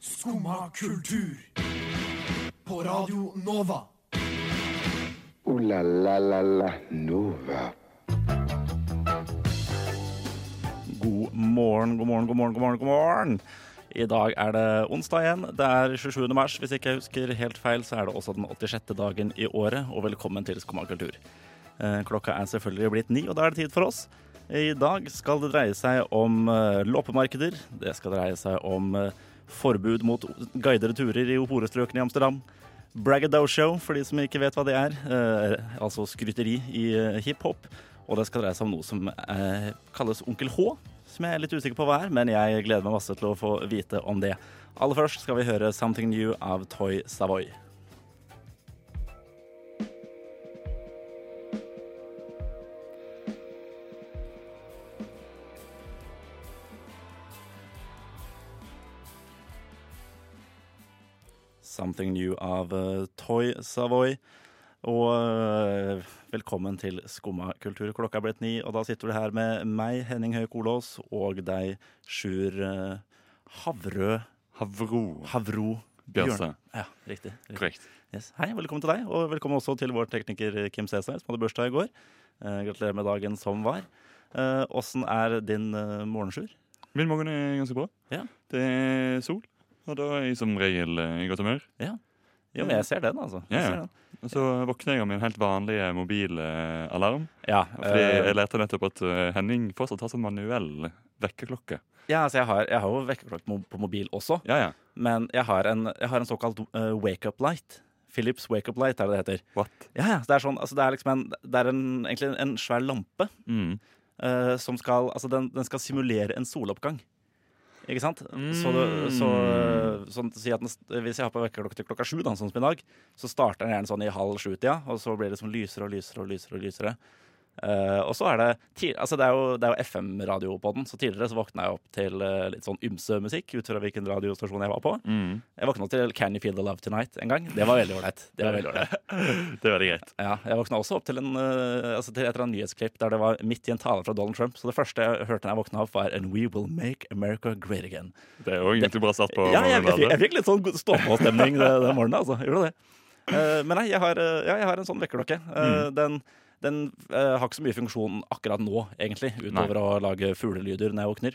Skumma kultur. På Radio Nova. Ooh la la la la Nova. God morgen, god morgen, god morgen, god morgen, god morgen. I dag er det onsdag igjen. Det er 27. mars. Hvis ikke jeg husker helt feil, så er det også den 86. dagen i året, og velkommen til Skumma kultur. Eh, Klokka er selvfølgelig blitt ni, og da er det tid for oss. I dag skal det dreie seg om eh, loppemarkeder. Det skal dreie seg om eh, forbud mot guidede turer i horestrøkene i Amsterdam. Braggadocio, for de som ikke vet hva det er. Eh, altså skryteri i eh, hiphop. Og det skal dreie seg om noe som eh, kalles Onkel H, som jeg er litt usikker på hva er, men jeg gleder meg masse til å få vite om det. Aller først skal vi høre Something New av Toy Savoy. Something New av eh, Toy Savoy. Og eh, velkommen til Skumma kultur. Klokka er blitt ni, og da sitter du her med meg, Henning Høie Kolås, og deg, Sjur eh, Havrø Havro. Havro Bjørnstad. Ja, riktig. riktig. Korrekt. Yes. Hei, velkommen til deg, og velkommen også til vår tekniker Kim Cæsar, som hadde bursdag i går. Eh, gratulerer med dagen som var. Eh, Åssen er din uh, morgensjur? Min morgen er ganske bra. Ja. Det er sol, og da er jeg som regel eh, i godt humør. Jo, men jeg ser den, altså. Mm. Ja, Jeg ja. ser den. Og så våkner jeg med en helt vanlig eh, mobilalarm. ja Fordi eh, jeg lærte nettopp at eh, Henning fortsatt har sånn manuell vekkerklokke. Ja, altså jeg har, jeg har jo vekkerklokke mo- på mobil også, Ja, ja. men jeg har en, jeg har en såkalt eh, wake-up light. Philips wake-up light er det det heter. What? Ja, ja, så det er sånn, altså det er liksom en, det er en, egentlig en svær lampe Mm. eh, som skal, altså den, den skal simulere en soloppgang. Ikke sant? Så, du- så, sånn, si at den, st- hvis jeg har på vekkerklokke til klokka sju, da, sånn som i dag, så starter den gjerne sånn i halv sju-tida, og så blir det liksom lysere og lysere og lysere. og lysere. Eh, og så er det ti altså det er jo, det er jo FM-radio på den, så tidligere så våkna jeg opp til eh, litt sånn ymse musikk ut fra hvilken radiostasjon jeg var på. Mm. Jeg våkna til Can You Feel The Love Tonight en gang. Det var veldig ålreit. Det var veldig ålreit. Det er veldig greit. Ja, jeg våkna også opp til, en, eh, altså til et eller annet nyhetsklipp der det var midt i en tale fra Donald Trump. Så det første jeg hørte da jeg våkna opp, var And we will make America great again. Det er jo egentlig bra satt på Ja, jeg, jeg, fikk- jeg morgenbladet. fikk litt sånn god stå-på-stemning den, den morgenen, altså. Jeg Gjorde det. Eh, men nei, jeg har, eh, ja, jeg har en sånn vekkerklokke. Eh, Mm. Den, den eh, har ikke så mye funksjon akkurat nå, egentlig, Nei. utover å lage fuglelyder når jeg våkner.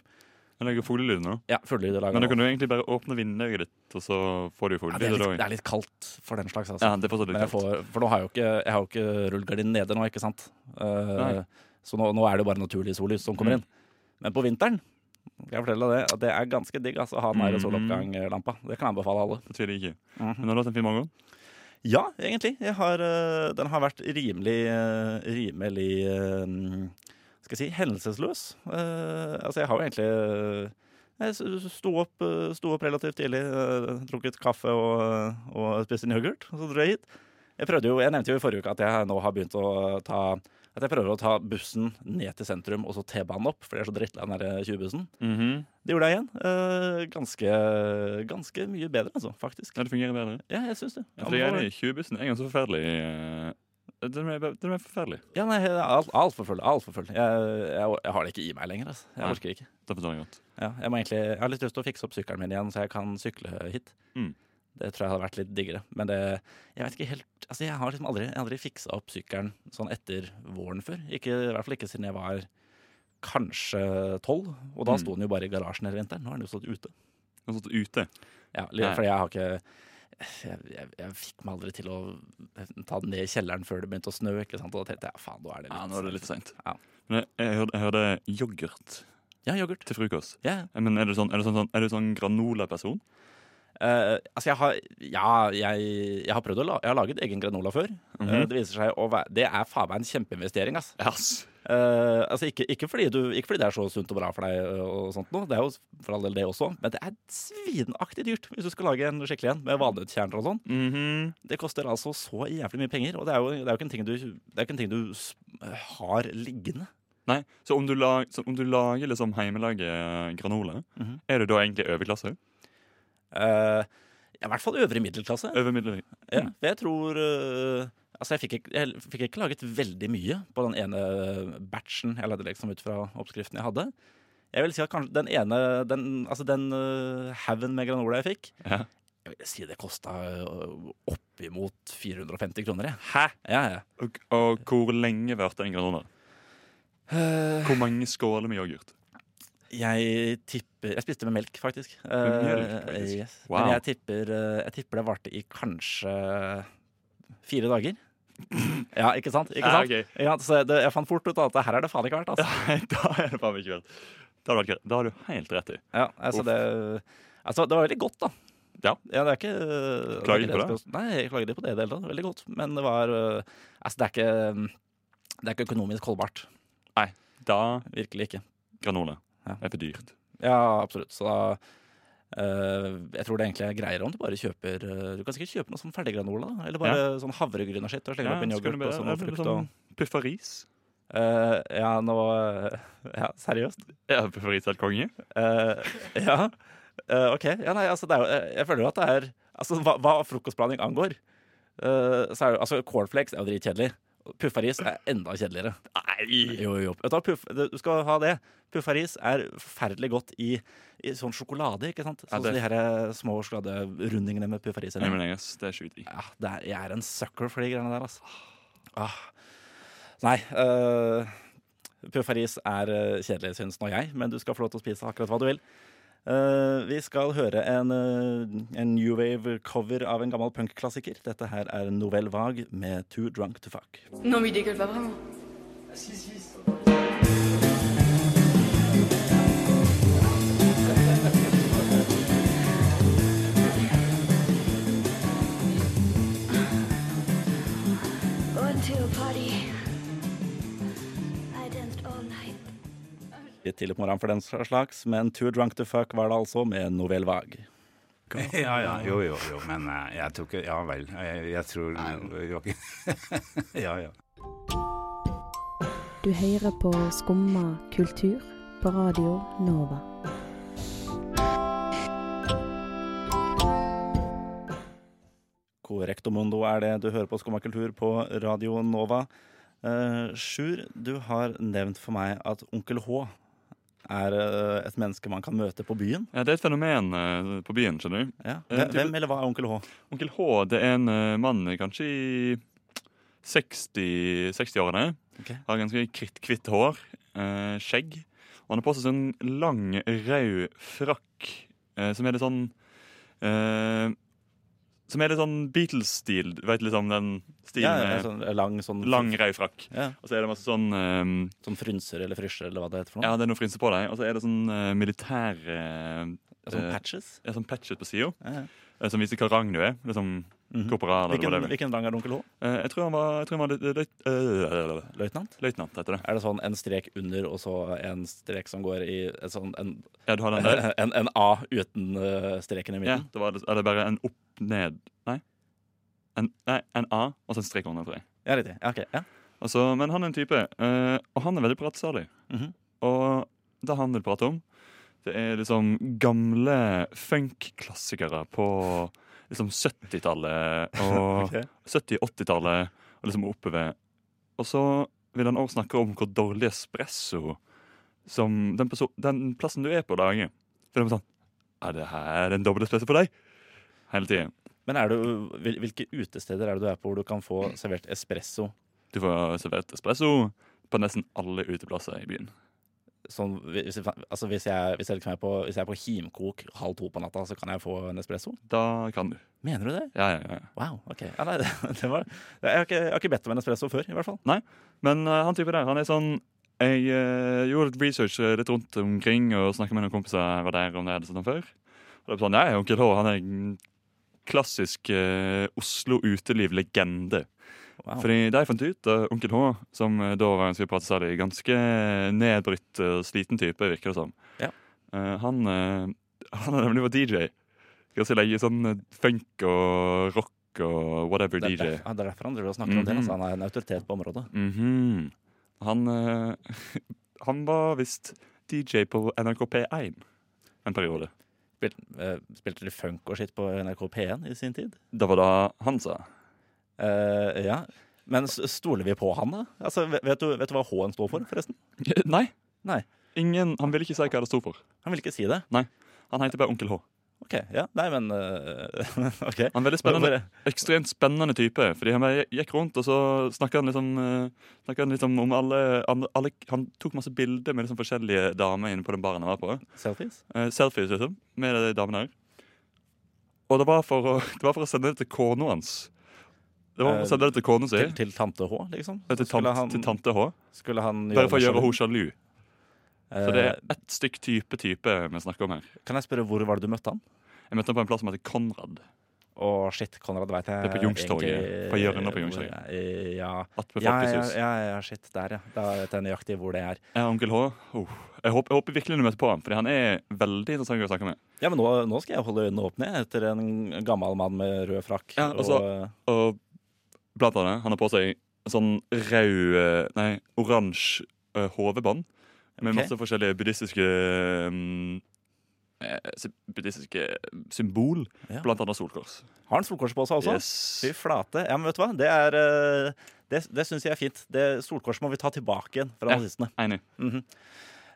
Jeg lager fuglelyd nå. Ja, fuglelyder lager Men da jeg nå. kan du egentlig bare åpne vinduet ditt, og så får du ja, det, er fuglelyd. litt, det er litt kaldt for den slags, altså. Ja, det er fortsatt Men litt jeg kaldt. får, for nå har jeg jo ikke, jeg har jo ikke rullegardinen nede nå, ikke sant? Eh, Nei. Mm. så nå, nå er det jo bare naturlig sollys som kommer inn. Men på vinteren skal jeg fortelle deg det, at det er ganske digg altså, å ha den her Mhm. soloppganglampa. Det kan jeg anbefale alle. Det tviler jeg ikke. Mhm. Men har du hatt en fin morgen? Ja, egentlig. Jeg har, eh, den har vært rimelig, eh, rimelig eh, skal jeg si, hendelsesløs. Eh, altså, jeg har jo egentlig eh, jeg s- sto opp, eh, sto opp relativt tidlig, eh, drukket kaffe og, eh, og spiste en yoghurt. Og så dro jeg hit. Jeg, prøvde jo, jeg nevnte jo i forrige uke at jeg nå har begynt å ta at jeg prøver å ta bussen ned til sentrum og så T-banen opp, for jeg er så drittlei den der 20-bussen. Mhm. Det gjorde jeg igjen. Eh, ganske, ganske mye bedre, altså, faktisk. Ja, det fungerer bedre. Ja, jeg syns det. Ja, Fordi jeg er enig, 20-bussen er ganske forferdelig. eh, Den er, den er forferdelig. Ja, nei, jeg er alt- altfor full. Altfor full. Jeg, jeg, jeg har det ikke i meg lenger. Altså. Jeg Nei. orker ikke. Det forstår jeg godt. Ja, jeg, må egentlig, jeg har litt lyst til å fikse opp sykkelen min igjen, så jeg kan sykle hit. Mm. Det tror jeg hadde vært litt diggere. Men det, jeg vet ikke helt Altså, jeg har liksom aldri, jeg har aldri fiksa opp sykkelen sånn etter våren før. Ikke, I hvert fall ikke siden jeg var kanskje tolv. Og da Mm. sto den jo bare i garasjen hele vinteren. Nå har den jo stått ute. Den har stått ute. Ja, litt, Nei. fordi jeg har ikke jeg, jeg, jeg fikk meg aldri til å ta den ned i kjelleren før det begynte å snø. Ikke sant? Og da tenkte jeg faen, nå er det litt, seint. Ja. Men jeg, jeg, hørte, jeg hørte yoghurt Ja, yoghurt. til frokost. Ja, ja. Men er du sånn, er du sånn, sånn, er du sånn granola-person? Eh, altså jeg har, ja, jeg, jeg har prøvd å la, jeg har laget egen granola før. Eh, det viser seg å være Det er faen meg en kjempeinvestering. ass. Yes. Eh, altså ikke, ikke, fordi du, ikke fordi det er så sunt og bra for deg, eh, og sånt noe. det er jo for all del det også, men det er svinaktig dyrt hvis du skal lage en skikkelig en med valnøttkjerner og sånn. Mm-hmm. Det koster altså så jævlig mye penger, og det er jo, det er jo ikke en ting du, det er ikke en ting du s- eh, har liggende. Nei, så om du, lag, så om du lager liksom hjemmelaget granola, Mhm. er du da egentlig overklasse? Eh, ja, I hvert fall øvre middelklasse. Over middelvei? Ja, for jeg tror eh, Altså, jeg fikk, ikke, jeg fikk eh, ikke laget veldig mye på den ene batchen jeg lagde liksom ut fra oppskriften jeg hadde. Jeg vil si at kanskje den ene Den, altså den eh, haugen med granola jeg fikk, Ja. jeg vil si det eh, kosta oppimot 450 kroner. Jeg. Hæ? Ja, ja. Og, og hvor lenge varte den granola? Hvor mange skåler med yoghurt? Jeg tipper Jeg spiste med melk, faktisk. Med melk, Eh, faktisk? yes. Wow. Men jeg tipper, eh, jeg tipper det varte i kanskje fire dager. Ja, ikke sant? Ikke Ja, sant? ok. Ja, så det, jeg fant fort ut at det her er det faen ikke verdt. Altså. Nei, da er det faen meg ikke verdt. Da har du, da har du helt rett i. Ja, altså Uff. det Altså, det var veldig godt, da. Ja. det er ikke Klager ikke på det? Nei, jeg klager ikke på det i det hele tatt. Veldig godt. Men det var øh, Altså, det er ikke Det er ikke økonomisk holdbart. Da Virkelig ikke. granola Ja. er for dyrt. Ja, absolutt. Så da øh, Jeg tror det egentlig er greiere om du bare kjøper øh, Du kan sikkert kjøpe noe sånn ferdiggranola. da. Eller bare sånn havregryn og shit, og slenge Ja, opp en så kan yoghurt du bare- og sånn det blir frukt sånn og Puffa ris. Øh, Ja, nå øh, Ja, seriøst? Ja, puffa ris er helt konge. Eh, ja, Eh, ok. Ja, nei, altså, det er jo, eh, jeg føler jo at det er Altså, hva, hva frokostblanding angår, eh, så er det altså Cornflakes er jo dritkjedelig. Puffaris er enda kjedeligere. Nei! Jo, jo, jo. Vet du hva, puff, du skal ha det. Puffaris er forferdelig godt i, i sånn sjokolade, ikke sant? Ja, Sånn det- som de her eh, små sjokoladerundingene med puffaris. i. Nei, men yes, det er sjukt digg. Ja, det er, jeg er en sucker for de greiene der, altså. Ah. Nei. Uh, Puffaris er eh, kjedelig, syns nå jeg, men du skal få lov til å spise akkurat hva du vil. Eh, vi skal høre en, eh, en new wave-cover av en gammel punkklassiker. Dette her er Novelle Vague med Too Drunk to Fuck. Non, mais il dégueule pas vraiment. Going to a party. I danced all night. Litt tidlig på morgenen for den slags, men Too Drunk to Fuck var det altså, med Novelle Vague. Ja, ja, jo, jo, jo, men eh, jeg tror ikke Ja vel. Jeg, jeg tror det var ikke Ja, ja. Du hører på Skumma kultur på radio Nova. Correcto Mundo er det du hører på Skumma kultur på Radio Nova. Eh, Sjur, du har nevnt for meg at Onkel H er eh, et menneske man kan møte på byen. Ja, det er et fenomen eh, på byen, skjønner du. Ja. Eh, Hvem, hvem eller hva er Onkel H? Onkel H det er en eh, mann kanskje i 60 60-årene. Ok. Har ganske kvitt, kvitt hår, eh, skjegg. Og han har på seg sånn lang, rød frakk eh, som er litt sånn eh, Som er litt sånn Beatles-stil. Du vet liksom den stilen Ja, med en sånn lang sånn, lang, rød frakk. Ja, Og så er det masse sånn eh, sånn frynser eller frysjer eller hva det heter for Ja, noe. det er noe frynser på deg. Og så er det sånn eh, militær eh, sånn eh, patches. ja, sånn patchet på sida eh, Ja, ja. som viser hva rang du er. Liksom korporal Mhm. eller Hvilken, whatever. hvilken rang er det Onkel H? Eh, Jeg tror han var, jeg tror han var løyt, løyt, øh, Løytnant? løytnant, heter det. Er det sånn en strek under og så en strek som går i en sånn, en, Ja, du har den der. Eh, en, en A uten eh, streken i Ja, midten? det var, eller bare en opp, ned Nei. En, nei, en A og så en strek under, tror jeg. Ja, riktig. Ja, ok. Ja. Altså, men han er en type, eh, og han er veldig pratsalig. Mhm. Og det han vil prate om, det er liksom gamle funk-klassikere på liksom 70-tallet og Ok. 70-80-tallet og liksom oppover. Og så vil han også snakke om hvor dårlig espresso som den, perso- den plassen du er på, lager. For de er sånn Er det her en dobbel espresso for deg? Hele tiden. Men er du, hvil- hvilke utesteder er det du er på hvor du kan få servert espresso Du får servert espresso på nesten alle uteplasser i byen. sånn, hvis, jeg- altså hvis, jeg, hvis, jeg liksom er på, hvis jeg er på himkok halv to på natta, så kan jeg få en espresso? Da kan du. Mener du det? Ja, ja, ja. Wow, ok. Ja, nei, det var, jeg, har ikke, jeg har ikke bedt om en espresso før, i hvert fall. Men eh, han type der, han er sånn Jeg eh, gjorde litt research eh, litt rundt omkring og snakket med noen kompiser jeg var der om det hadde sett ham før. Og det var sånn, nei, Onkel H han er en klassisk eh, Oslo uteliv-legende. Wow. Fordi de fant ut at Onkel H, som eh, da var ganske pratsalig, ganske nedbrytt og sliten type, virker det som, Ja. Eh, han, eh, han har nemlig vært DJ. Ganske lenge sånn eh, funk og rock og whatever det, er DJ. der, ja, det er derfor han driver og snakker om det. Mhm. Altså, han er en autoritet på området. Mhm. han, eh, han var visst DJ på NRK P1 en periode. Spil, eh, spilte litt funk og shit på NRK P1 i sin tid. Det var da han sa. Eh, ja. Men s- stoler vi på han, da? Altså, vet- vet, du, vet du hva H-en står for, forresten? Nei. Nei. ingen, han ville ikke si hva det sto for. Han ville ikke si det. Han heter bare Onkel H. Ok, ja, Nei, men eh, OK. Han er veldig spennende, ekstremt spennende type. Fordi han bare gikk rundt, og så snakka han liksom, eh, snakket han liksom om alle, alle, alle Han tok masse bilder med liksom forskjellige damer inne på den baren han var på. Selfies? Eh, selfies, liksom, med de damene her. Og det var for å, det var for å sende det til kona hans. Det var for å sende det til kona si. Eh, Til, til tante H, liksom? Til, Skulle tant, han- til tante H. Skulle han Bare for noe å gjøre sjalu? henne sjalu. Så det er ett stykk type type vi snakker om her. Eh, Kan jeg spørre hvor var det du møtte han? Jeg møtte ham på en plass som heter Konrad. Å, shit, Konrad veit jeg Det er på Youngstorget. egentlig På hjørnet på hvor Youngstorget. jeg- Ja. Attmed Ja, ja, Folkets hus. ja, ja, shit, der, ja. Da vet jeg nøyaktig hvor det er. Ja, onkel H. Oh. Jeg, håper, jeg håper virkelig du møter på ham, Fordi han er veldig interessant å snakke med. Ja, men nå, nå skal jeg holde øynene åpne etter en gammel mann med rød frakk. Ja, altså- og så- og, Og blant annet, han har på seg sånn rød eh, Nei, oransje eh, hodebånd. Med Ok. masse forskjellige buddhistiske mm, eh, sy- Buddhistiske eh, symbol. Ja. Blant annet solkors. har han solkors på seg også? Fy Yes. flate. Ja, men vet du hva? Det er eh, det, det syns jeg er fint. Det Solkorset må vi ta tilbake igjen fra Ja. nazistene. Enig.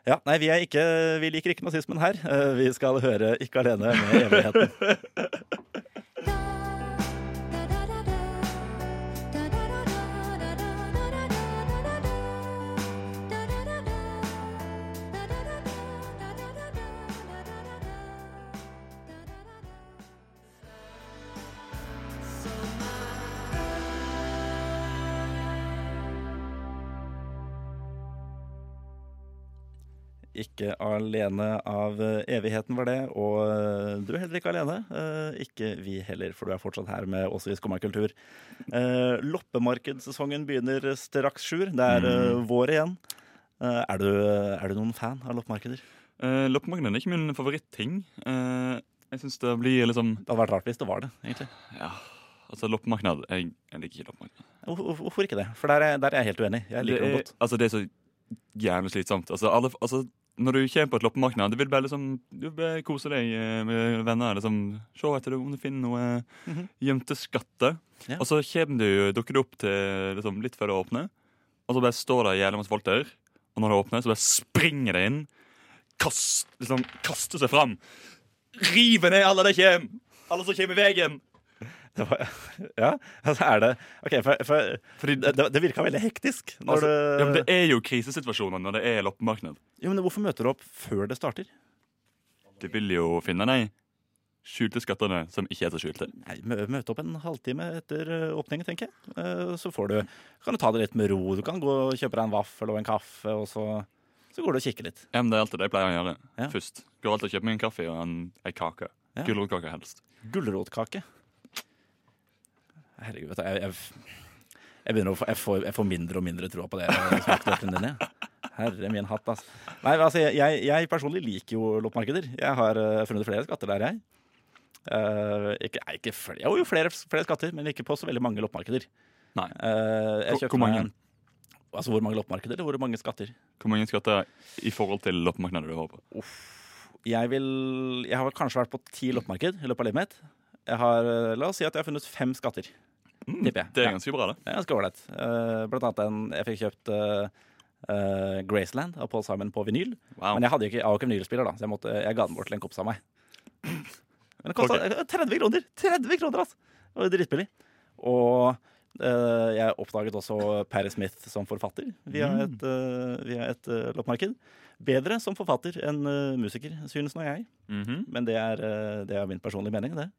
Ja, nei, vi, er ikke, vi liker ikke nazismen her. Eh, Vi skal høre Ikke alene med evigheten. Ikke alene av eh, evigheten var det, og eh, du er heller ikke alene. Eh, Ikke vi heller, for du er fortsatt her med oss i Skummakultur. Eh, Loppemarkedssesongen begynner straks, Sjur. Det er eh, vår igjen. Eh, Er du, er du noen fan av loppemarkeder? Det Uh, Loppemarked er ikke min favoritting. Eh, jeg syns det blir liksom hadde vært rart hvis det var det, egentlig. Ja, altså loppemarked Jeg, jeg liker ikke loppemarked. Hvor- hvor- Hvorfor ikke det? For der er, der er jeg helt uenig. Jeg liker det er, godt. altså, det er så jævlig slitsomt. Altså, alle, altså, når du kommer på et loppemarked, du vil bare liksom Du vil bare kose deg eh, med venner. Liksom, se etter om du finner noe gjemte skatter. Mhm. Ja. Og så kommer du, dukker du opp til liksom, litt før det åpner, og så bare står det jævlig masse folk der. Og når det åpner, så bare springer de inn, kast, liksom, kaster seg fram. River ned alle de kommer! Alle som kommer i veien! Det var, ja, altså er det Ok, for, for Fordi det, det- det virka veldig hektisk. Når Altså, du, ja, men det er jo krisesituasjoner når det er loppemarked. jo, men hvorfor møter du opp før det starter? Du vil jo finne de skjulte skattene som ikke er så skjulte. Nei, mø- Møte opp en halvtime etter eh, åpningen, tenker jeg. Eh, Så får du, kan du ta det litt med ro. Du kan gå og kjøpe deg en vaffel og en kaffe, og så, så går du og kikker litt. Ja, men Det er alltid det jeg pleier å gjøre Ja. først. Går alltid og kjøper meg en kaffe og en, en kake. Ja. Gulrotkake helst. Gulrotkake. Herregud, vet du, jeg, jeg, jeg begynner å få jeg får, jeg får mindre og mindre troa på det. smaksnøkkelen din, jeg. Herre min hatt, ass. Nei, men altså, jeg, jeg personlig liker jo loppemarkeder. Jeg har eh, funnet flere skatter der, jeg. Eh, ikke, nei, ikke flere, jo, jo, flere, flere skatter, men ikke på så veldig mange loppemarkeder. Nei. Eh, jeg Hvor- kjøpte hvor mange? meg- Altså, hvor mange loppemarkeder, eller hvor mange skatter? Hvor mange skatter i forhold til loppemarkedet du har på? Jeg, vil, jeg har kanskje vært på ti loppemarked i løpet av livet mitt. Jeg har, eh, la oss si at jeg har funnet fem skatter. Mm, Tipper jeg. Det Ja. er ganske bra, det. Det er ganske ålreit. Eh, Blant annet en jeg fikk kjøpt eh, eh, Graceland av Paul Simon på vinyl. Wow. Men jeg hadde jo ikke, jeg var jo ikke vinylspiller, da, så jeg, måtte, jeg ga den bort til en kompis av meg. Men det kosta Ok. 30 kroner! 30 kroner, altså! Det var jo dritbillig. Og eh, jeg oppdaget også Parry Smith som forfatter via Mm. et, uh, et eh, loppemarked. Bedre som forfatter enn eh, musiker, synes nå jeg. Mhm. Men det er, eh, det er min personlige mening. det.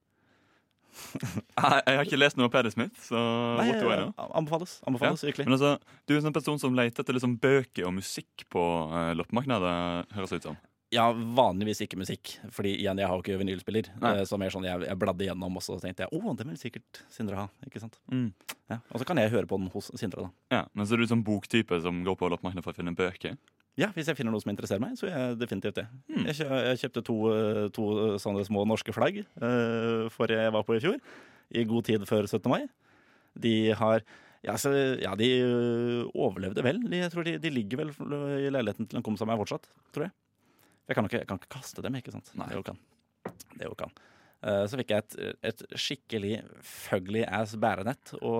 jeg, jeg har ikke lest noe av Peder Smith, så Nei, eh, what do I know? anbefales. Ja. anbefales virkelig. Men altså, du er en sånn person som leter etter liksom bøker og musikk på uh, loppemarkedet, høres det ut som. Ja, vanligvis ikke musikk. Fordi igjen, jeg har jo ikke vinylspiller. Nei. Eh, Så mer sånn, jeg, jeg bladde gjennom, og så tenkte jeg å, den vil sikkert Sindre ha. ikke sant? Mm. Ja. Og så kan jeg høre på den hos Sindre, da. Ja, Men så er du sånn boktype som går på loppemarkedet for å finne bøker. Ja, Hvis jeg finner noe som interesserer meg, så gjør jeg definitivt det. Mm. Jeg, kjø jeg kjøpte to, eh, to eh, sånne små norske flagg uh, for jeg var på i fjor. I god tid før 17. mai. De har Ja, så, ja de eh, overlevde vel. De, jeg tror de, de ligger vel eh, i leiligheten til en kompis av meg fortsatt, tror jeg. Jeg kan jo ikke, jeg kan ikke kaste dem, ikke sant? Nei. Det er jo kan. Det er jo kan. Eh, Så fikk jeg et, et skikkelig fugly ass bærenett å,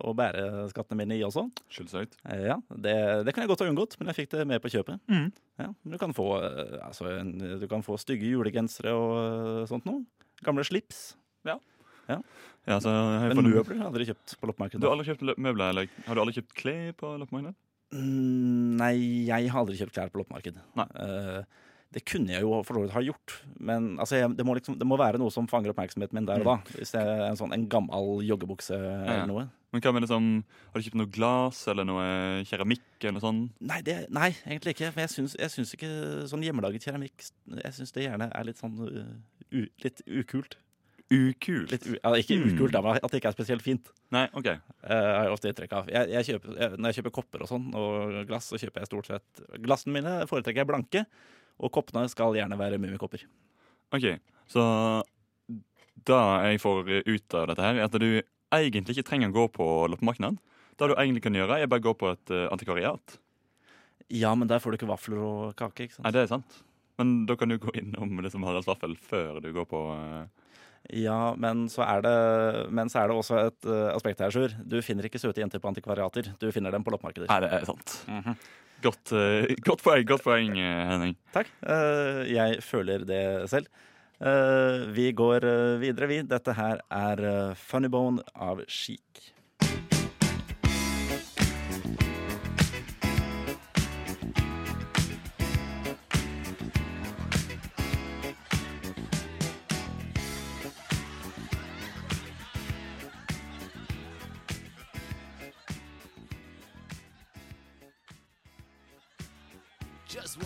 å bære skattene mine i også. Skyldsaut. Eh, Ja, det, det kan jeg godt ha unngått, men jeg fikk det med på kjøpet. Mm. Ja, men du kan få, eh, altså, en, du kan få stygge julegensere og eh, sånt noe. Gamle slips. Ja, så har jeg Men funnet- møbler har jeg aldri kjøpt på loppemarkedet. Du har aldri kjøpt lø- møbler, eller har du aldri kjøpt klær på loppemarkedet? Mm, Nei, jeg har aldri kjøpt klær på loppemarked. Nei. Eh, det kunne jeg jo for så vidt ha gjort, men altså, jeg, det, må liksom, det må være noe som fanger oppmerksomheten min der og da. Hvis det er en sånn en gammel joggebukse Mm. ja. eller noe. Men hva med liksom, har du kjøpt noe glass eller noe keramikk eller noe sånn? sånt? Nei, det, nei egentlig ikke. For jeg syns, jeg syns ikke sånn hjemmelaget keramikk Jeg syns det gjerne er litt sånn eh, u, litt ukult. Ukult. Litt u, ja, ikke Mm. ukult, da, men at det ikke er spesielt fint. Nei, ok. eh, har jeg ofte inntrykk av. Jeg, jeg kjøper, jeg, når jeg kjøper kopper og sånn, og glass, så kjøper jeg stort sett Glassene mine foretrekker jeg blanke, og koppene skal gjerne være mummikopper. Ok, så da jeg får ut av dette her, er at du egentlig ikke trenger å gå på loppemarkedet. Det du egentlig kan gjøre, er bare gå på et eh, antikvariat. Ja, men der får du ikke vafler og kake, ikke sant? Nei, det er sant. Men da kan du gå innom det som Haralds vaffel før du går på eh, Ja, men så er det, men så er det også et eh, aspekt her, Sjur. Du finner ikke søte jenter på antikvariater. Du finner dem på loppemarkeder. Nei, det er sant. Godt, eh, godt poeng, godt poeng, eh, Henning. Takk. Eh, jeg føler det selv. Eh, vi går eh, videre, vi. Dette her er eh, Funny Bone av Chic. Just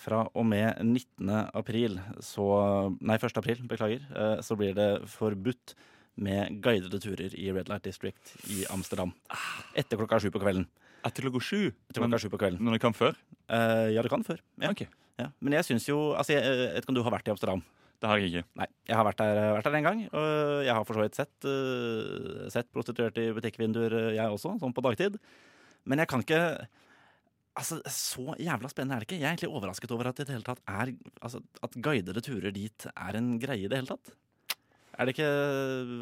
fra og med 19. april, så Nei, 1. april, beklager. eh, så blir det forbudt med guidede turer i Red Light District i Amsterdam. Etter klokka sju på kvelden. Ah. Etter klokka sju. Etter klokka sju på kvelden. Når du kan før? Eh, ja, det kan før. Ja. Ok. Ja. Men jeg syns jo Altså, jeg eh, vet ikke om du har vært i Amsterdam? Det har jeg ikke. Nei. Jeg har vært der, eh, vært der en gang, og jeg har for så vidt sett, eh, sett prostituerte i butikkvinduer, eh, jeg også, sånn på dagtid. Men jeg kan ikke Altså, Så jævla spennende er det ikke. Jeg er egentlig overrasket over at det i det hele tatt er Altså, at guidede turer dit er en greie i det hele tatt. Er det ikke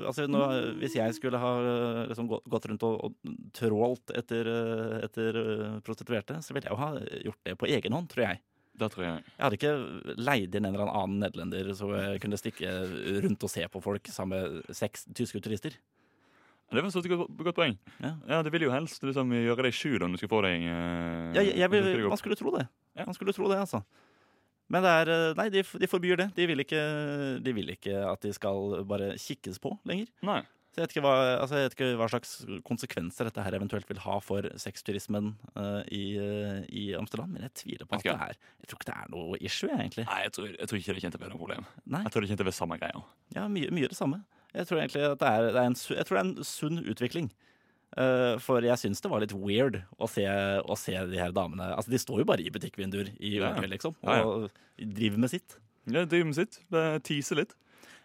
Altså, nå, hvis jeg skulle ha eh, liksom, gå- gått rundt og, og trålt etter, eh, etter eh, prostituerte, så ville jeg jo ha gjort det på egen hånd, tror jeg. Det tror jeg. Jeg hadde ikke leid inn en eller annen nederlender så jeg kunne stikke rundt og se på folk sammen med seks tyske turister. Det var et godt, godt poeng. Ja. Ja, Du vil jo helst liksom, gjøre deg skjul om du skal få deg eh, Ja, jeg, jeg, om du skal vil- gå man opp. skulle tro det. Ja. Man skulle tro det, altså. Men det er eh, Nei, de, f- de forbyr det. De vil, ikke, de vil ikke at de skal bare kikkes på lenger. Nei. Så jeg vet ikke hva, altså jeg vet ikke hva slags konsekvenser dette her eventuelt vil ha for sexturismen eh, i, eh, i Amsterdam, men jeg tviler på at Vet ikke det er Jeg tror ikke det er noe issue, jeg, egentlig. Nei, jeg tror, jeg tror ikke det kjente til å være noe problem. Nei. Jeg tror det kjente til å være samme greia. Ja, mye, mye det samme. Jeg tror egentlig at det er, det er, en, su- jeg tror det er en sunn utvikling. Eh, for jeg syns det var litt weird å se, å se de her damene Altså, de står jo bare i butikkvinduer i Ja, ja. overkveld, liksom, Ja, ja. og driver med sitt. Ja, Driver med sitt. Det Tiser litt.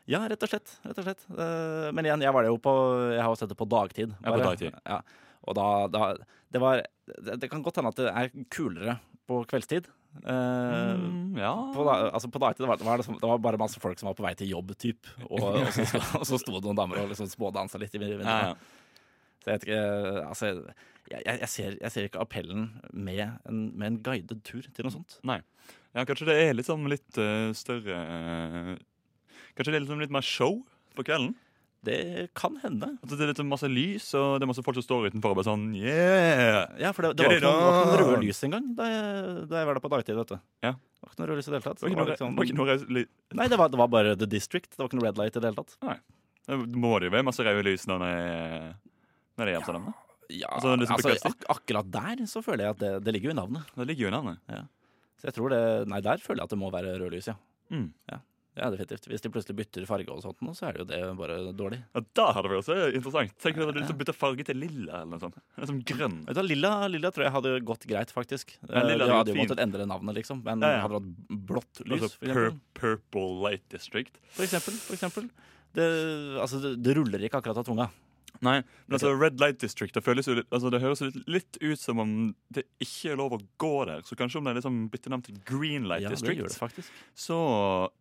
Ja, rett og slett. Rett og slett. Eh, men igjen, jeg var det jo på Jeg har jo sett det på dagtid. Ja, på bare. dagtid. Ja. Og da, da Det var det, det kan godt hende at det er kulere på kveldstid. Eh, Mm, ja. på, da, altså på dagtid var, var det, som, det var bare masse folk som var på vei til jobb, typ. Og, og, så, sto- og så sto det noen damer og liksom smådansa litt i vinduet. Ja, ja. Så jeg vet ikke Altså, jeg, jeg, jeg, ser, jeg ser ikke appellen med en, med en guidet tur til noe sånt. ja, kanskje det er liksom litt eh, større eh, Kanskje det er liksom litt mer show på kvelden? Det kan hende. At det er litt sånn masse lys, og det er masse folk som står utenfor og bare sånn Yeah! Ja, for det, det Get var it ikke noen, det var ikke noen on! røde lys engang da jeg, da jeg var der på dagtid, vet du. Ja. Det var ikke noen røde lys i det hele tatt. Det var Det ikke var noe, det var ikke liksom, noe reis- li- nei, det var, det var bare The District. Det var ikke noe red light i det hele tatt. Det må det jo være masse røde lys når det er når det er Amsterdam. da. Ja, Altså, det er liksom altså, bekvemstig. ak akkurat der så føler jeg at det, det ligger jo i navnet. Det ligger jo i navnet. Så jeg tror det Nei, der føler jeg at det må være røde lys, ja. Mm. ja. Ja, definitivt. Hvis de plutselig bytter farge og sånt, nå, så er det jo det bare dårlig. Ja, da hadde vært så interessant. Tenk om du hadde lyst til å bytte farge til lilla eller noe sånt. Eller som grønn. Vet du, hva, lilla, lilla tror jeg hadde gått greit, faktisk. Ja, Eh, lilla de hadde hadde gått jo fint. måttet endre navnet, liksom. Men Ja, ja. hadde det hatt blått lys, Altså for eksempel. pur Purple Light District. For eksempel, for eksempel. Det, altså, det, det ruller ikke akkurat av tunga. Nei, men altså Red Light District Det, føles jo litt, altså, det høres jo litt, litt ut som om det ikke er lov å gå der. Så kanskje om det er liksom bytter navn til Green Light Ja, det District, gjør det faktisk. så,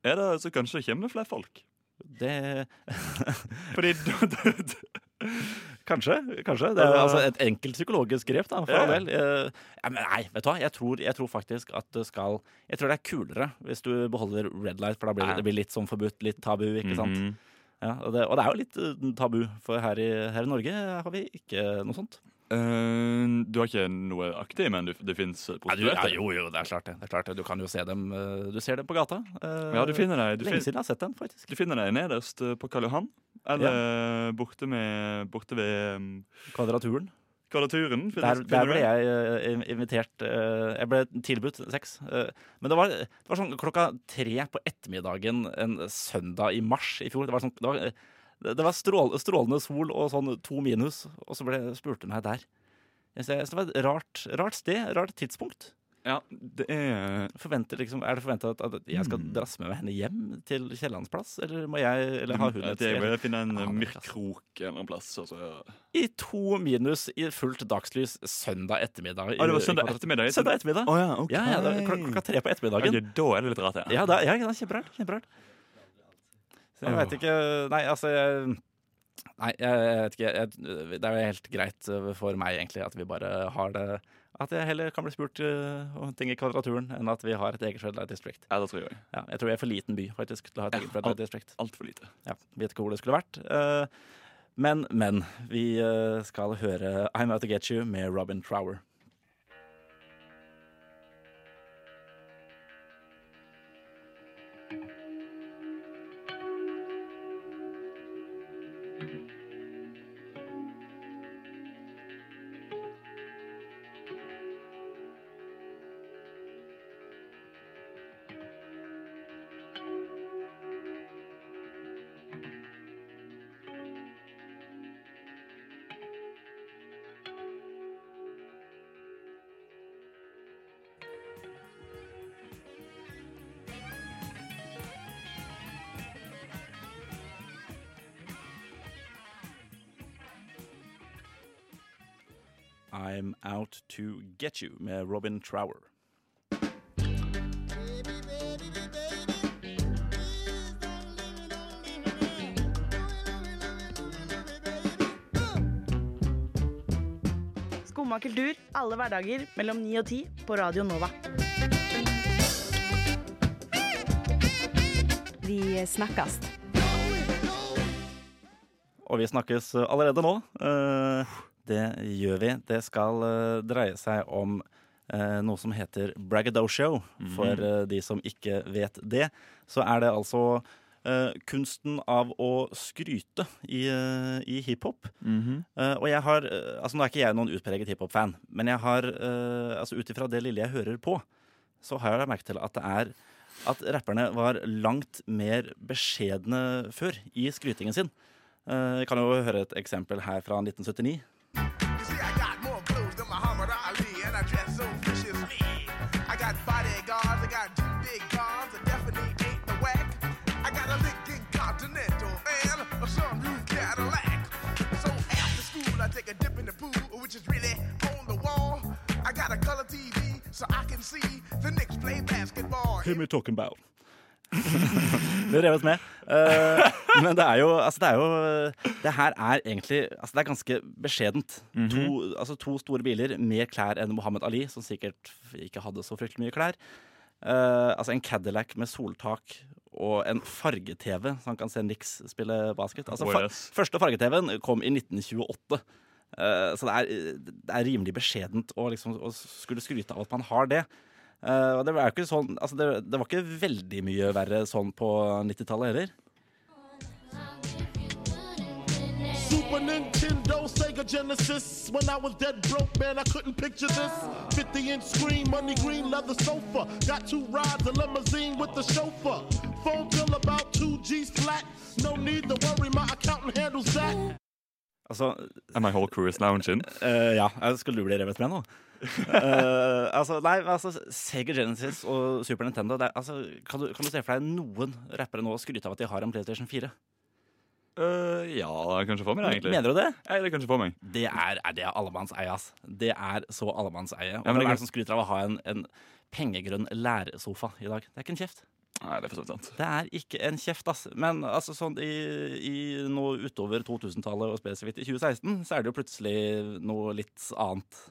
er det, så kanskje det kommer flere folk. Det, Fordi da- da- da- kanskje. kanskje. Det er altså et enkelt psykologisk grep, da, for Ja. all del. Eh, Ja, men nei, vet du hva. Jeg tror, jeg tror faktisk at det skal Jeg tror det er kulere hvis du beholder red light, for da blir det, det blir litt sånn forbudt, litt tabu, ikke sant. Mhm. Ja, og, det, og det er jo litt eh, tabu, for her i, her i Norge har vi ikke noe sånt. Eh, du har ikke noe aktig, men du, det fins Ja, du, ja, prostituerte? jo, jo, det er klart det. det er klart det. Du kan jo se dem eh, Du ser dem på gata. Eh, Ja, du finner deg du, Lenge fin, siden jeg har sett dem, faktisk. du finner deg nederst eh, på Karl Johan. Eller borte, med, borte ved um, Kvadraturen. kvadraturen. Der, Finner, der finner du ble det? jeg eh, in- invitert eh, Jeg ble tilbudt sex. eh, men det var, det var sånn klokka tre på ettermiddagen en søndag i mars i fjor. Det var, sånn, det var, eh, det- det var strål, strålende sol og sånn to minus, og så ble, spurte meg der. Jeg synes det var et rart, rart sted, rart tidspunkt. Ja, det er forventer liksom, er det forventa at, at jeg Mm. skal drasse med meg henne hjem til Kiellands plass, eller må jeg eller har hun Ja, et det er sted? vel å finne en Ja, eh, men mørk altså. krok en eller annen plass. Altså. I to minus i fullt dagslys søndag ettermiddag. i- Ah, det var søndag i- ettermiddag? Søndag ettermiddag. Å ja, ok. Ja, ja, det var klok klokka tre på ettermiddagen. Ok, da er det litt rart, ja. Ja, det, ja, det er kjemperart. Kjemperart. Så jeg Åh. veit ikke Nei, altså jeg, Nei, jeg vet ikke. Jeg, det er jo helt greit eh, for meg, egentlig, at vi bare har det At jeg heller kan bli spurt eh, om ting i Kvadraturen enn at vi har et eget Red Light District. Ja, det tror jeg òg. Ja, jeg tror jeg er for liten by faktisk til å ha et eget Red Light District. Altfor lite. Ja, vet ikke hvor det skulle vært. Eh, Men, men. Vi eh, skal høre I'm Out To Get You med Robin Trower. I'm Out To Get You med Robin Trower. Skumma kultur alle hverdager mellom 9 og 10 på Radio Nova. Vi snakkes. Og vi snakkes allerede nå. Eh, Det gjør vi. Det skal eh, dreie seg om eh, noe som heter braggadocio. For eh, de som ikke vet det, så er det altså eh, kunsten av å skryte i, eh, i hiphop. Eh, og jeg har eh, Altså, nå er ikke jeg noen utpreget hiphop-fan, men jeg har eh, Altså, ut ifra det lille jeg hører på, så har jeg lagt merke til at det er at rapperne var langt mer beskjedne før i skrytingen sin. Eh, Vi kan jo høre et eksempel her fra 1979. See, I got more clothes than Muhammad Ali, and I dress so viciously. I got bodyguards, I got two big guns, I definitely ain't the whack. I got a Lincoln Continental and a sunroof Cadillac. So after school, I take a dip in the pool, which is really on the wall. I got a color TV, so I can see the Knicks play basketball. me talking about. det reves med. Eh, men det er jo Altså, det er jo Det her er egentlig Altså, det er ganske beskjedent. to, altså, to store biler, mer klær enn Mohammed Ali, som sikkert ikke hadde så fryktelig mye klær. Eh, altså en Cadillac med soltak og en farge-TV, så han kan se Nix spille basket. Altså, fa Yes. Første farge-TV-en kom i 1928. Eh, så det er, det er rimelig beskjedent å, liksom, å skulle skryte av at man har det. Eh, og det var, jo ikke sånn, altså det, det var ikke veldig mye verre sånn på 90-tallet heller. Super Nintendo, Sega Genesis. When I was dead broke, man, I couldn't picture this. 50 inch screen, money green, leather sofa. Got two rides, a limousine with the chauffeur. phone bill about two G's flat. No need to worry, my accountant handles that. Altså, And my whole crew is now in gin. eh, ja, jeg skulle du bli revet med nå? Eh, altså, nei, men altså, Sega Genesis og Super Nintendo det er, altså, kan, du, kan du se for deg noen rappere nå skryte av at de har en PlayStation 4? Eh, ja, det er kanskje for meg, det, egentlig. Mener du det? Nei, det er kanskje for meg. Det er, er, det er allemannseie, ass. Det er så allemannseie. Og men det hvem er er det som skryter av å ha en, en pengegrønn lærsofa i dag? Det er ikke en kjeft. Nei, det er for så vidt sant. Det er ikke en kjeft, ass. Men altså, sånn i, i nå utover 2000-tallet, og spesifikt i 2016, så er det jo plutselig noe litt annet.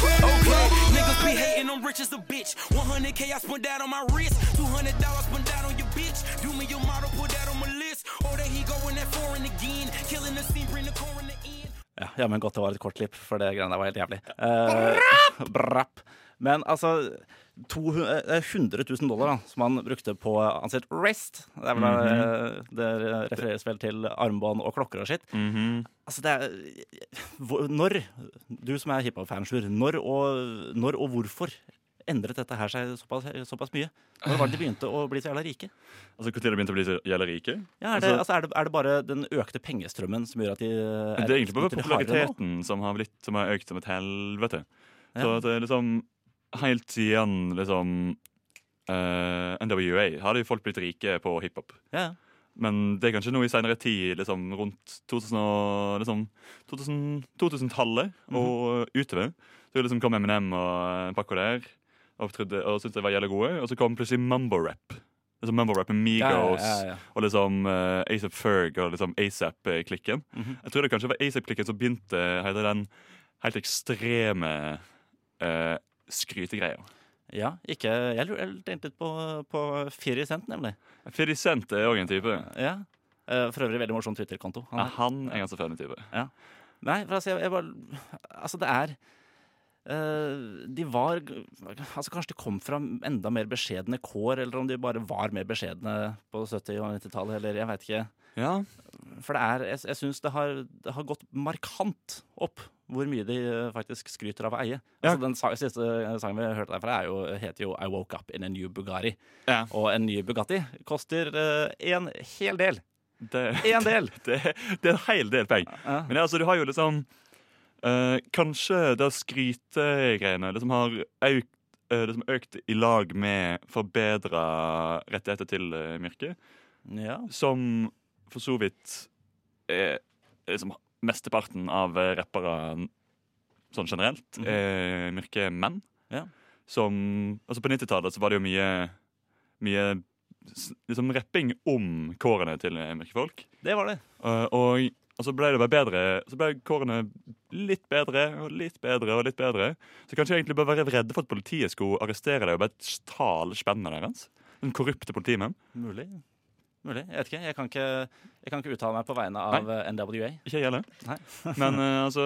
Okay, niggas be hating, I'm rich as a bitch. 100k, I spent that on my wrist. 200 dollars spent that on your bitch. Do me your model, put that on my list. Oh, there he go in that foreign again. Killing the scene, bring the coroner in. Ja, ja, men godt det var et kort klipp, for det greiene der var helt jævlig. Eh, brapp! Men altså 200 eh, 100 000 dollar da, som han brukte på eh, Han sitt wrist. Det, er vel, Mhm. eh, det refereres vel til armbånd og klokker og skitt. Mhm. Altså, det er hvor- Når, du som er hiphop-fansjur, når, og- når og hvorfor endret dette her seg såpass, såpass mye? Når var det de begynte å bli så jævla rike? Altså, Når begynte det å bli så jævla rike? Ja, er, det, altså, er, det, er det bare den økte pengestrømmen som gjør at de eh, Men Det er egentlig bare litt hardere nå? populariteten som har, blitt, som har økt som et helvete. Så at det er liksom Helt siden liksom eh, NWA har jo folk blitt rike på hiphop. Ja, ja. Men det er kanskje noe i seinere tid, liksom rundt 2000 og, liksom, 2000, 2000-tallet Mhm. og utover. Så liksom kom Eminem og en pakke der og, opptrodde- og syntes de var jævlig gode. Og så kom plutselig mumbo-rap. Liksom Mumbo-rap med Migos Ja, ja, ja, ja. og liksom eh, ASAP Ferg og liksom ASAP-klikken. Jeg tror det kanskje var ASAP-klikken som begynte hele den helt ekstreme eh, skrytegreia. Ja, ikke Jeg lurer jeg tenkte litt på, på 50 Cent, nemlig. Fifty Cent er òg en type. Ja. Eh, For øvrig veldig morsom Twitter-konto. han Ja, har. han er en ganske fæl type. Nei, for altså, jeg, jeg bare Altså, det er eh, de var altså Kanskje de kom fra enda mer beskjedne kår, eller om de bare var mer beskjedne på 70- og 90-tallet, eller jeg veit ikke. Ja, For det er Jeg, jeg syns det, har- det har gått markant opp hvor mye de eh, faktisk skryter av å eie. Ja. Altså, den sa- siste sangen vi hørte derfra, er jo, heter jo 'I Woke Up In A New Bugatti'. Ja. Og en ny Bugatti koster eh, en hel del. det En del! det, det er en hel del penger. Ja. Men ja, altså, du har jo liksom eh, Kanskje det skrytegreiene liksom har økt, eh, liksom økt i lag med forbedra rettigheter til uh, Myrke, Ja. som for så vidt er liksom, mesteparten av eh, rappere sånn generelt, Mhm. er Myrke-menn. Ja. Som Altså, på 90-tallet så var det jo mye, mye s- liksom rapping om kårene til eh, Myrke-folk. Det var det. Eh, og, og så ble det bare bedre Så ble kårene litt bedre og litt bedre og litt bedre. Så kanskje jeg egentlig bør være redde for at politiet skulle arrestere deg og bare ta alle spennene deres. Den korrupte politimenn. Mulig. Mulig. Jeg vet ikke. Jeg kan ikke, jeg kan ikke uttale meg på vegne av eh, NWA. Ikke jeg heller. Nei. Men eh, altså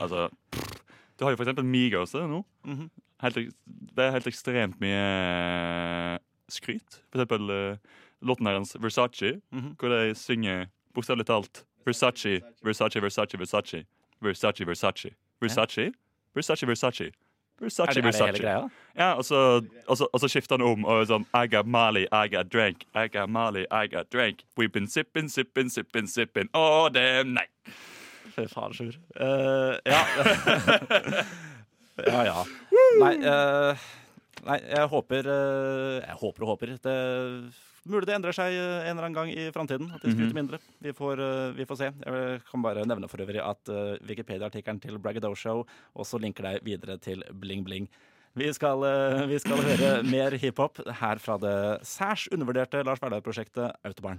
Altså pff, Du har jo for eksempel Migos det, nå. Mhm. helt, ek- det er helt ekstremt mye skryt. For eksempel eh, låten deres Versace, Mhm. hvor de synger bokstavelig talt Versace, Versace, Versace, Versace. Versace, Versace. Versace, Versace, Versace. Er Versace, det, er det hele Versace. greia? Ja, og så, og, så, og så skifter han om og er sånn I got Mali, I got drank, I got Mali, I got drank. We've been sipping, sipping, sipping, sipping all damn night. Fy faen, Sjur. Eh, ja. ja, ja. Nei, eh, nei jeg håper eh, Jeg håper og håper. Det Mulig det endrer seg eh, en eller annen gang i framtiden. At de skryter mindre. Vi får, eh, vi får se. Jeg kan bare nevne for øvrig at eh, Wikipedia-artikkelen til Braggadosho også linker deg videre til Bling Bling. Vi skal, eh, vi skal høre mer hiphop her fra det særs undervurderte Lars Verdal-prosjektet Autobarn.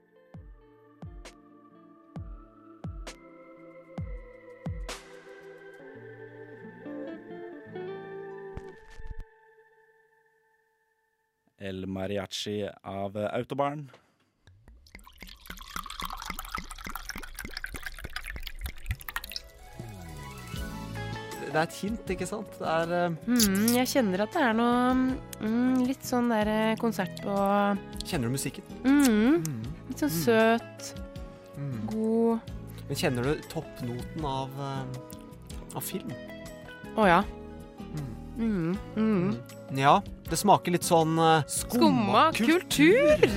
El Mariachi av eh, Autobarn. Det er et hint, ikke sant? Det er eh, Mm, jeg kjenner at det er noe mm, litt sånn der eh, konsert på Kjenner du musikken? mm, Litt sånn søt, Mm. god Men kjenner du toppnoten av, eh, av film? Å ja. Mm, mm. Ja, det smaker litt sånn eh, Skumma kultur!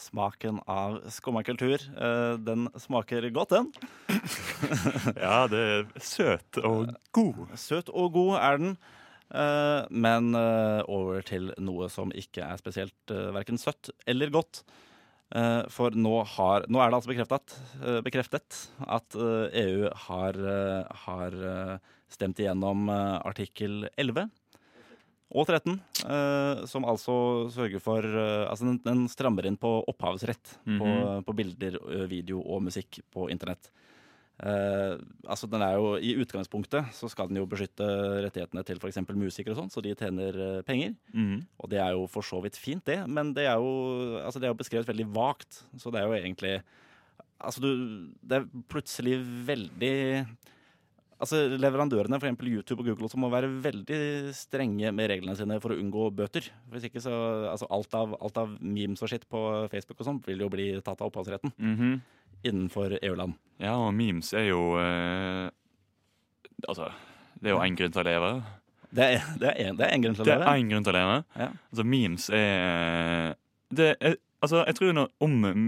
Smaken av skummakultur. Eh, Den smaker godt, den. ja, det er søt og god. Søt og god er den. Eh, Men eh, over til noe som ikke er spesielt eh, verken søtt eller godt. Eh, For nå, har, nå er det altså bekreftet, eh, bekreftet at eh, EU har, eh, har eh, stemt igjennom eh, artikkel 11 og 13, eh, som altså sørger for eh, Altså, den, den strammer inn på opphavsrett på, Mhm. på bilder, ø, video og musikk på internett. Eh, altså, den er jo I utgangspunktet så skal den jo beskytte rettighetene til f.eks. musikere og sånn, så de tjener eh, penger. Mhm. Og det er jo for så vidt fint, det, men det er jo, altså, det er jo beskrevet veldig vagt. Så det er jo egentlig Altså, du Det er plutselig veldig Altså Leverandørene, f.eks. YouTube og Google, også må være veldig strenge med reglene sine for å unngå bøter. Hvis ikke så, altså alt av, alt av memes og shit på Facebook og sånt vil jo bli tatt av opphavsretten Mhm. innenfor E EU-land. Ja, og memes er jo eh, Altså, det er jo én grunn til å leve. Det er, det er, en, det er en grunn til å Det er leve. én grunn til å leve. Ja. Altså, memes er eh, det er, Altså, jeg tror når, om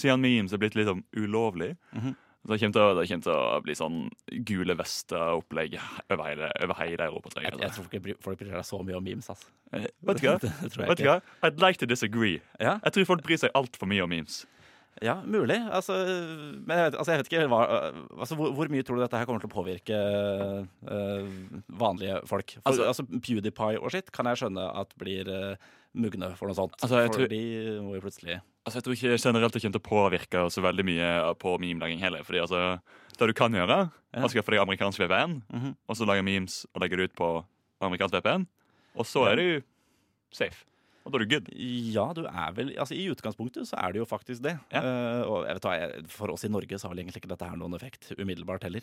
Siden memes er blitt litt sånn ulovlig, Mhm. så kommer til å- det kommer til å bli sånn gule vester-opplegg over hele, over hele Europa. tror Jeg, Jeg tror ikke bry- folk bryr seg så mye om memes, altså. Eh, Vet du hva? Det tror jeg Vet du ikke. hva? I'd like to disagree. Jeg tror folk bryr seg altfor mye om memes. Ja, mulig. Altså, men jeg vet, altså, jeg vet ikke hva, altså, hvor, hvor mye tror du dette her kommer til å påvirke eh, vanlige folk? For, altså, Altså- PewDiePie og shit kan jeg skjønne at blir eh, mugne for noe sånt. Altså, jeg for tror- de må jo plutselig Altså, jeg tror ikke generelt det kommer til å påvirke så veldig mye på memelaging heller. Fordi altså, det du kan gjøre, er å skaffe deg amerikansk VPN, Mhm. og så lage memes og legge det ut på amerikansk VPN, og så Ja. er du safe. Og da er du good. Ja, du er vel Altså, i utgangspunktet så er det jo faktisk det. Eh, og jeg vet hva, jeg, for oss i Norge så har vel egentlig ikke dette her noen effekt umiddelbart heller.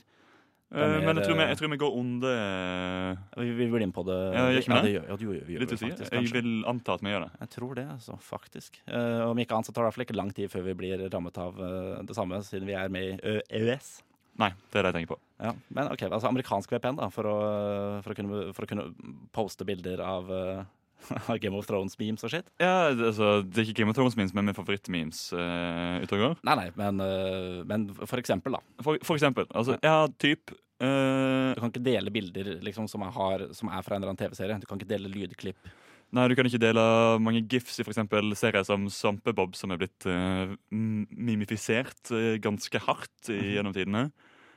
Det er Eh, mer, men jeg tror, vi, eh, jeg tror vi går under Vi, vi blir inn på det. Ja, gjør ikke vi ja, det det? gjør, ja, du, gjør- vi gjør Litt det usikker. faktisk, Jeg kanskje. vil anta at vi gjør det. Jeg tror det, altså, faktisk. Eh, om ikke annet så tar det i hvert fall ikke lang tid før vi blir rammet av eh, det samme, siden vi er med i ø, EØS. Nei, det er det jeg tenker på. Ja, men ok, altså amerikansk VPN da, for å, for å, kunne, for å kunne poste bilder av eh, av Game of Thrones-memes og shit. Ja, det- altså, det er ikke Game of Thrones-memes, men min favoritt-memes uh, ute og går. Nei, nei, men, eh, men for eksempel da. For, for eksempel. Altså, ja, typ eh, Du kan ikke dele bilder liksom, som, er har, som er fra en eller annen TV-serie. Du kan ikke dele lydklipp. Nei, du kan ikke dele mange gifs i for eksempel serier som Svampebob, som er blitt eh, m- mimifisert eh, ganske hardt i, gjennom tidene.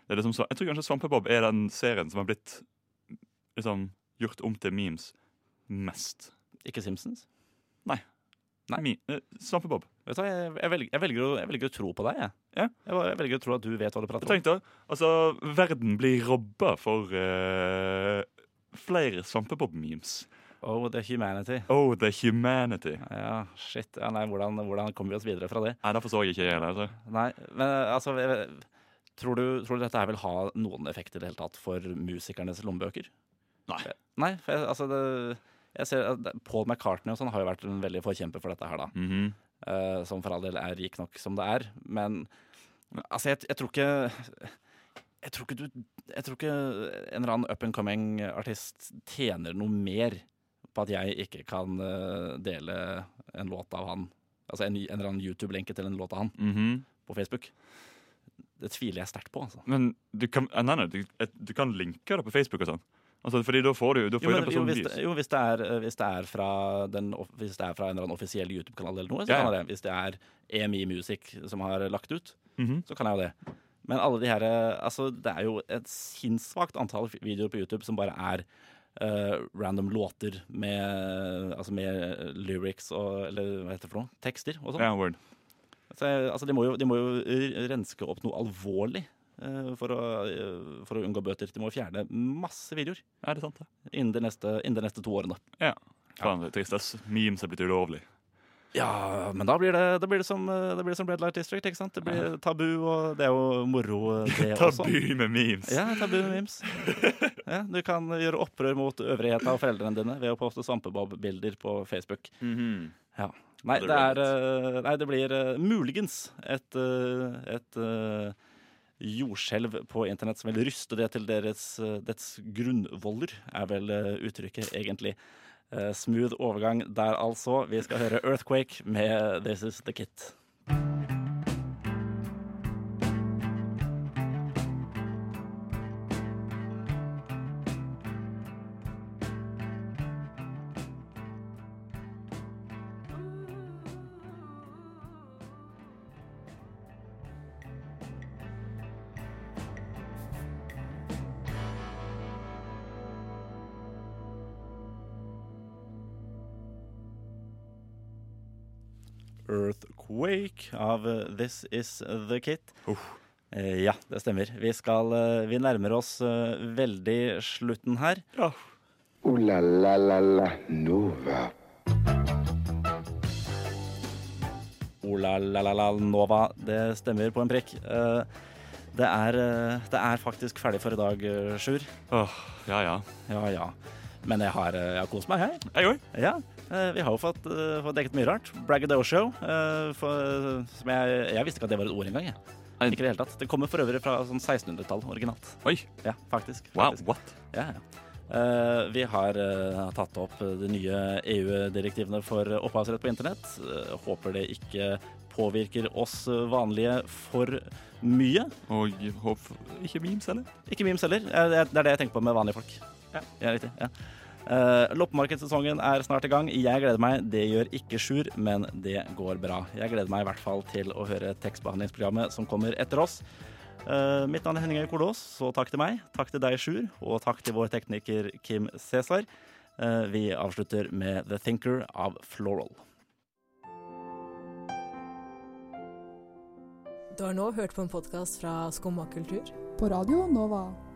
Det er liksom så, jeg tror kanskje Svampebob er den serien som har blitt liksom, gjort om til memes mest. Ikke Simpsons? Nei. Mi- eh, Svampebob. Vet du hva, jeg, jeg, velger, jeg, velger, å, jeg velger å tro på deg, jeg. Jeg, bare, jeg velger å tro at du vet hva du prater om. Tenk da, altså, verden blir robba for eh, flere Svampebob-memes. Oh, the humanity. Oh, the humanity. Ja, shit. Ja, nei, hvordan, hvordan kommer vi oss videre fra det? Nei, derfor så jeg ikke jeg heller. Altså. Nei, men eh, altså jeg vet- tror du, tror du dette her vil ha noen effekt i det hele tatt for musikernes lommebøker? Eh, Nei. Nei, for jeg, altså det, jeg ser, at det- Paul McCartney og sånn har jo vært en veldig forkjemper for dette her, da. Mhm. Eh, som for all del er rik nok som det er. Men altså, jeg, jeg tror ikke jeg tror ikke, du, jeg tror ikke en eller annen up and coming artist tjener noe mer på at jeg ikke kan eh, dele en låt av han. Altså en, en eller annen YouTube-lenke til en låt av han Mhm. på Facebook. Det tviler jeg sterkt på, altså. Men du kan, eh, nei, nei, du, et- du kan linke det på Facebook og sånn. Altså, fordi da får du, da får Jo, jo, men, den jo, personen hvis, views. det, jo hvis, det er, eh, hvis, det er fra den, off- hvis det er fra en eller annen offisiell YouTube-kanal eller noe, så Ja, ja. kan jeg det. Hvis det er EMI Music som har lagt ut, Mhm. så kan jeg jo det. Men alle de her eh, Altså, det er jo et sinnssvakt antall videoer på YouTube som bare er eh, random låter med Altså med lyrics og Eller hva heter det for noe? Tekster og sånn. Ja, word. Så, jeg- altså, de, må jo, de må jo r- renske opp noe alvorlig eh, for, å, eh, for å unngå bøter. De må fjerne masse videoer Er det sant, det? innen de neste, innen de neste to årene. Ja. Faen, det er trist, ass. Memes er blitt ulovlig. Ja, men da blir det, da blir det, som, eh, det blir som Red Light District. ikke sant? Det blir tabu, og det er jo moro, eh, det også. Tabu med memes. Ja, tabu med memes. Ja, du kan gjøre opprør mot øvrigheten av foreldrene dine ved å poste svampebob-bilder på Facebook. Mhm. Ja. Nei, det, er, eh, nei, det blir eh, muligens et, eh, et eh, jordskjelv på internett som vil ryste det til deres, eh, dets grunnvoller, er vel eh, uttrykket egentlig. Eh, smooth overgang der, altså. Vi skal høre Earthquake med This Is The Kit. Earthquake av eh, This Is The Kit. Eh, Ja, det stemmer. Vi, skal, eh, vi nærmer oss eh, veldig slutten her. Ooh la la la la Nova. Ola la la la Nova. Det stemmer på en prikk. Eh, Det er, eh, det er faktisk ferdig for i dag, eh, Sjur. ja, ja. Ja, ja. Men jeg har, eh, jeg har kost meg, jeg. Jeg òg. Ja. eh, Vi har jo fått, eh, fått dekket mye rart. Braggadocio. eh, for- Som jeg, jeg visste ikke at det var et ord engang. Jeg. Ikke i det hele tatt. Det kommer for øvrig fra sånn 1600-tall originalt. Oi. Ja, faktisk. Wow, faktisk. what? Ja, ja. Eh, vi har eh, tatt opp de nye EU-direktivene for opphavsrett på internett. Eh, håper det ikke påvirker oss vanlige for mye. Og håp ikke memes, eller? Ikke memes heller. Eh, det er- Det er det jeg tenker på med vanlige folk. Ja, riktig. Ja. Eh, loppemarkedssesongen er snart i gang. Jeg gleder meg. Det gjør ikke Sjur, men det går bra. Jeg gleder meg i hvert fall til å høre tekstbehandlingsprogrammet som kommer etter oss. Eh, mitt navn er Henning Øy Kolås, så takk til meg. Takk til deg, Sjur, og takk til vår tekniker Kim Cæsar. Eh, vi avslutter med The Thinker av Floral. Du har nå hørt på en podkast fra Skumma kultur. På radio Nova.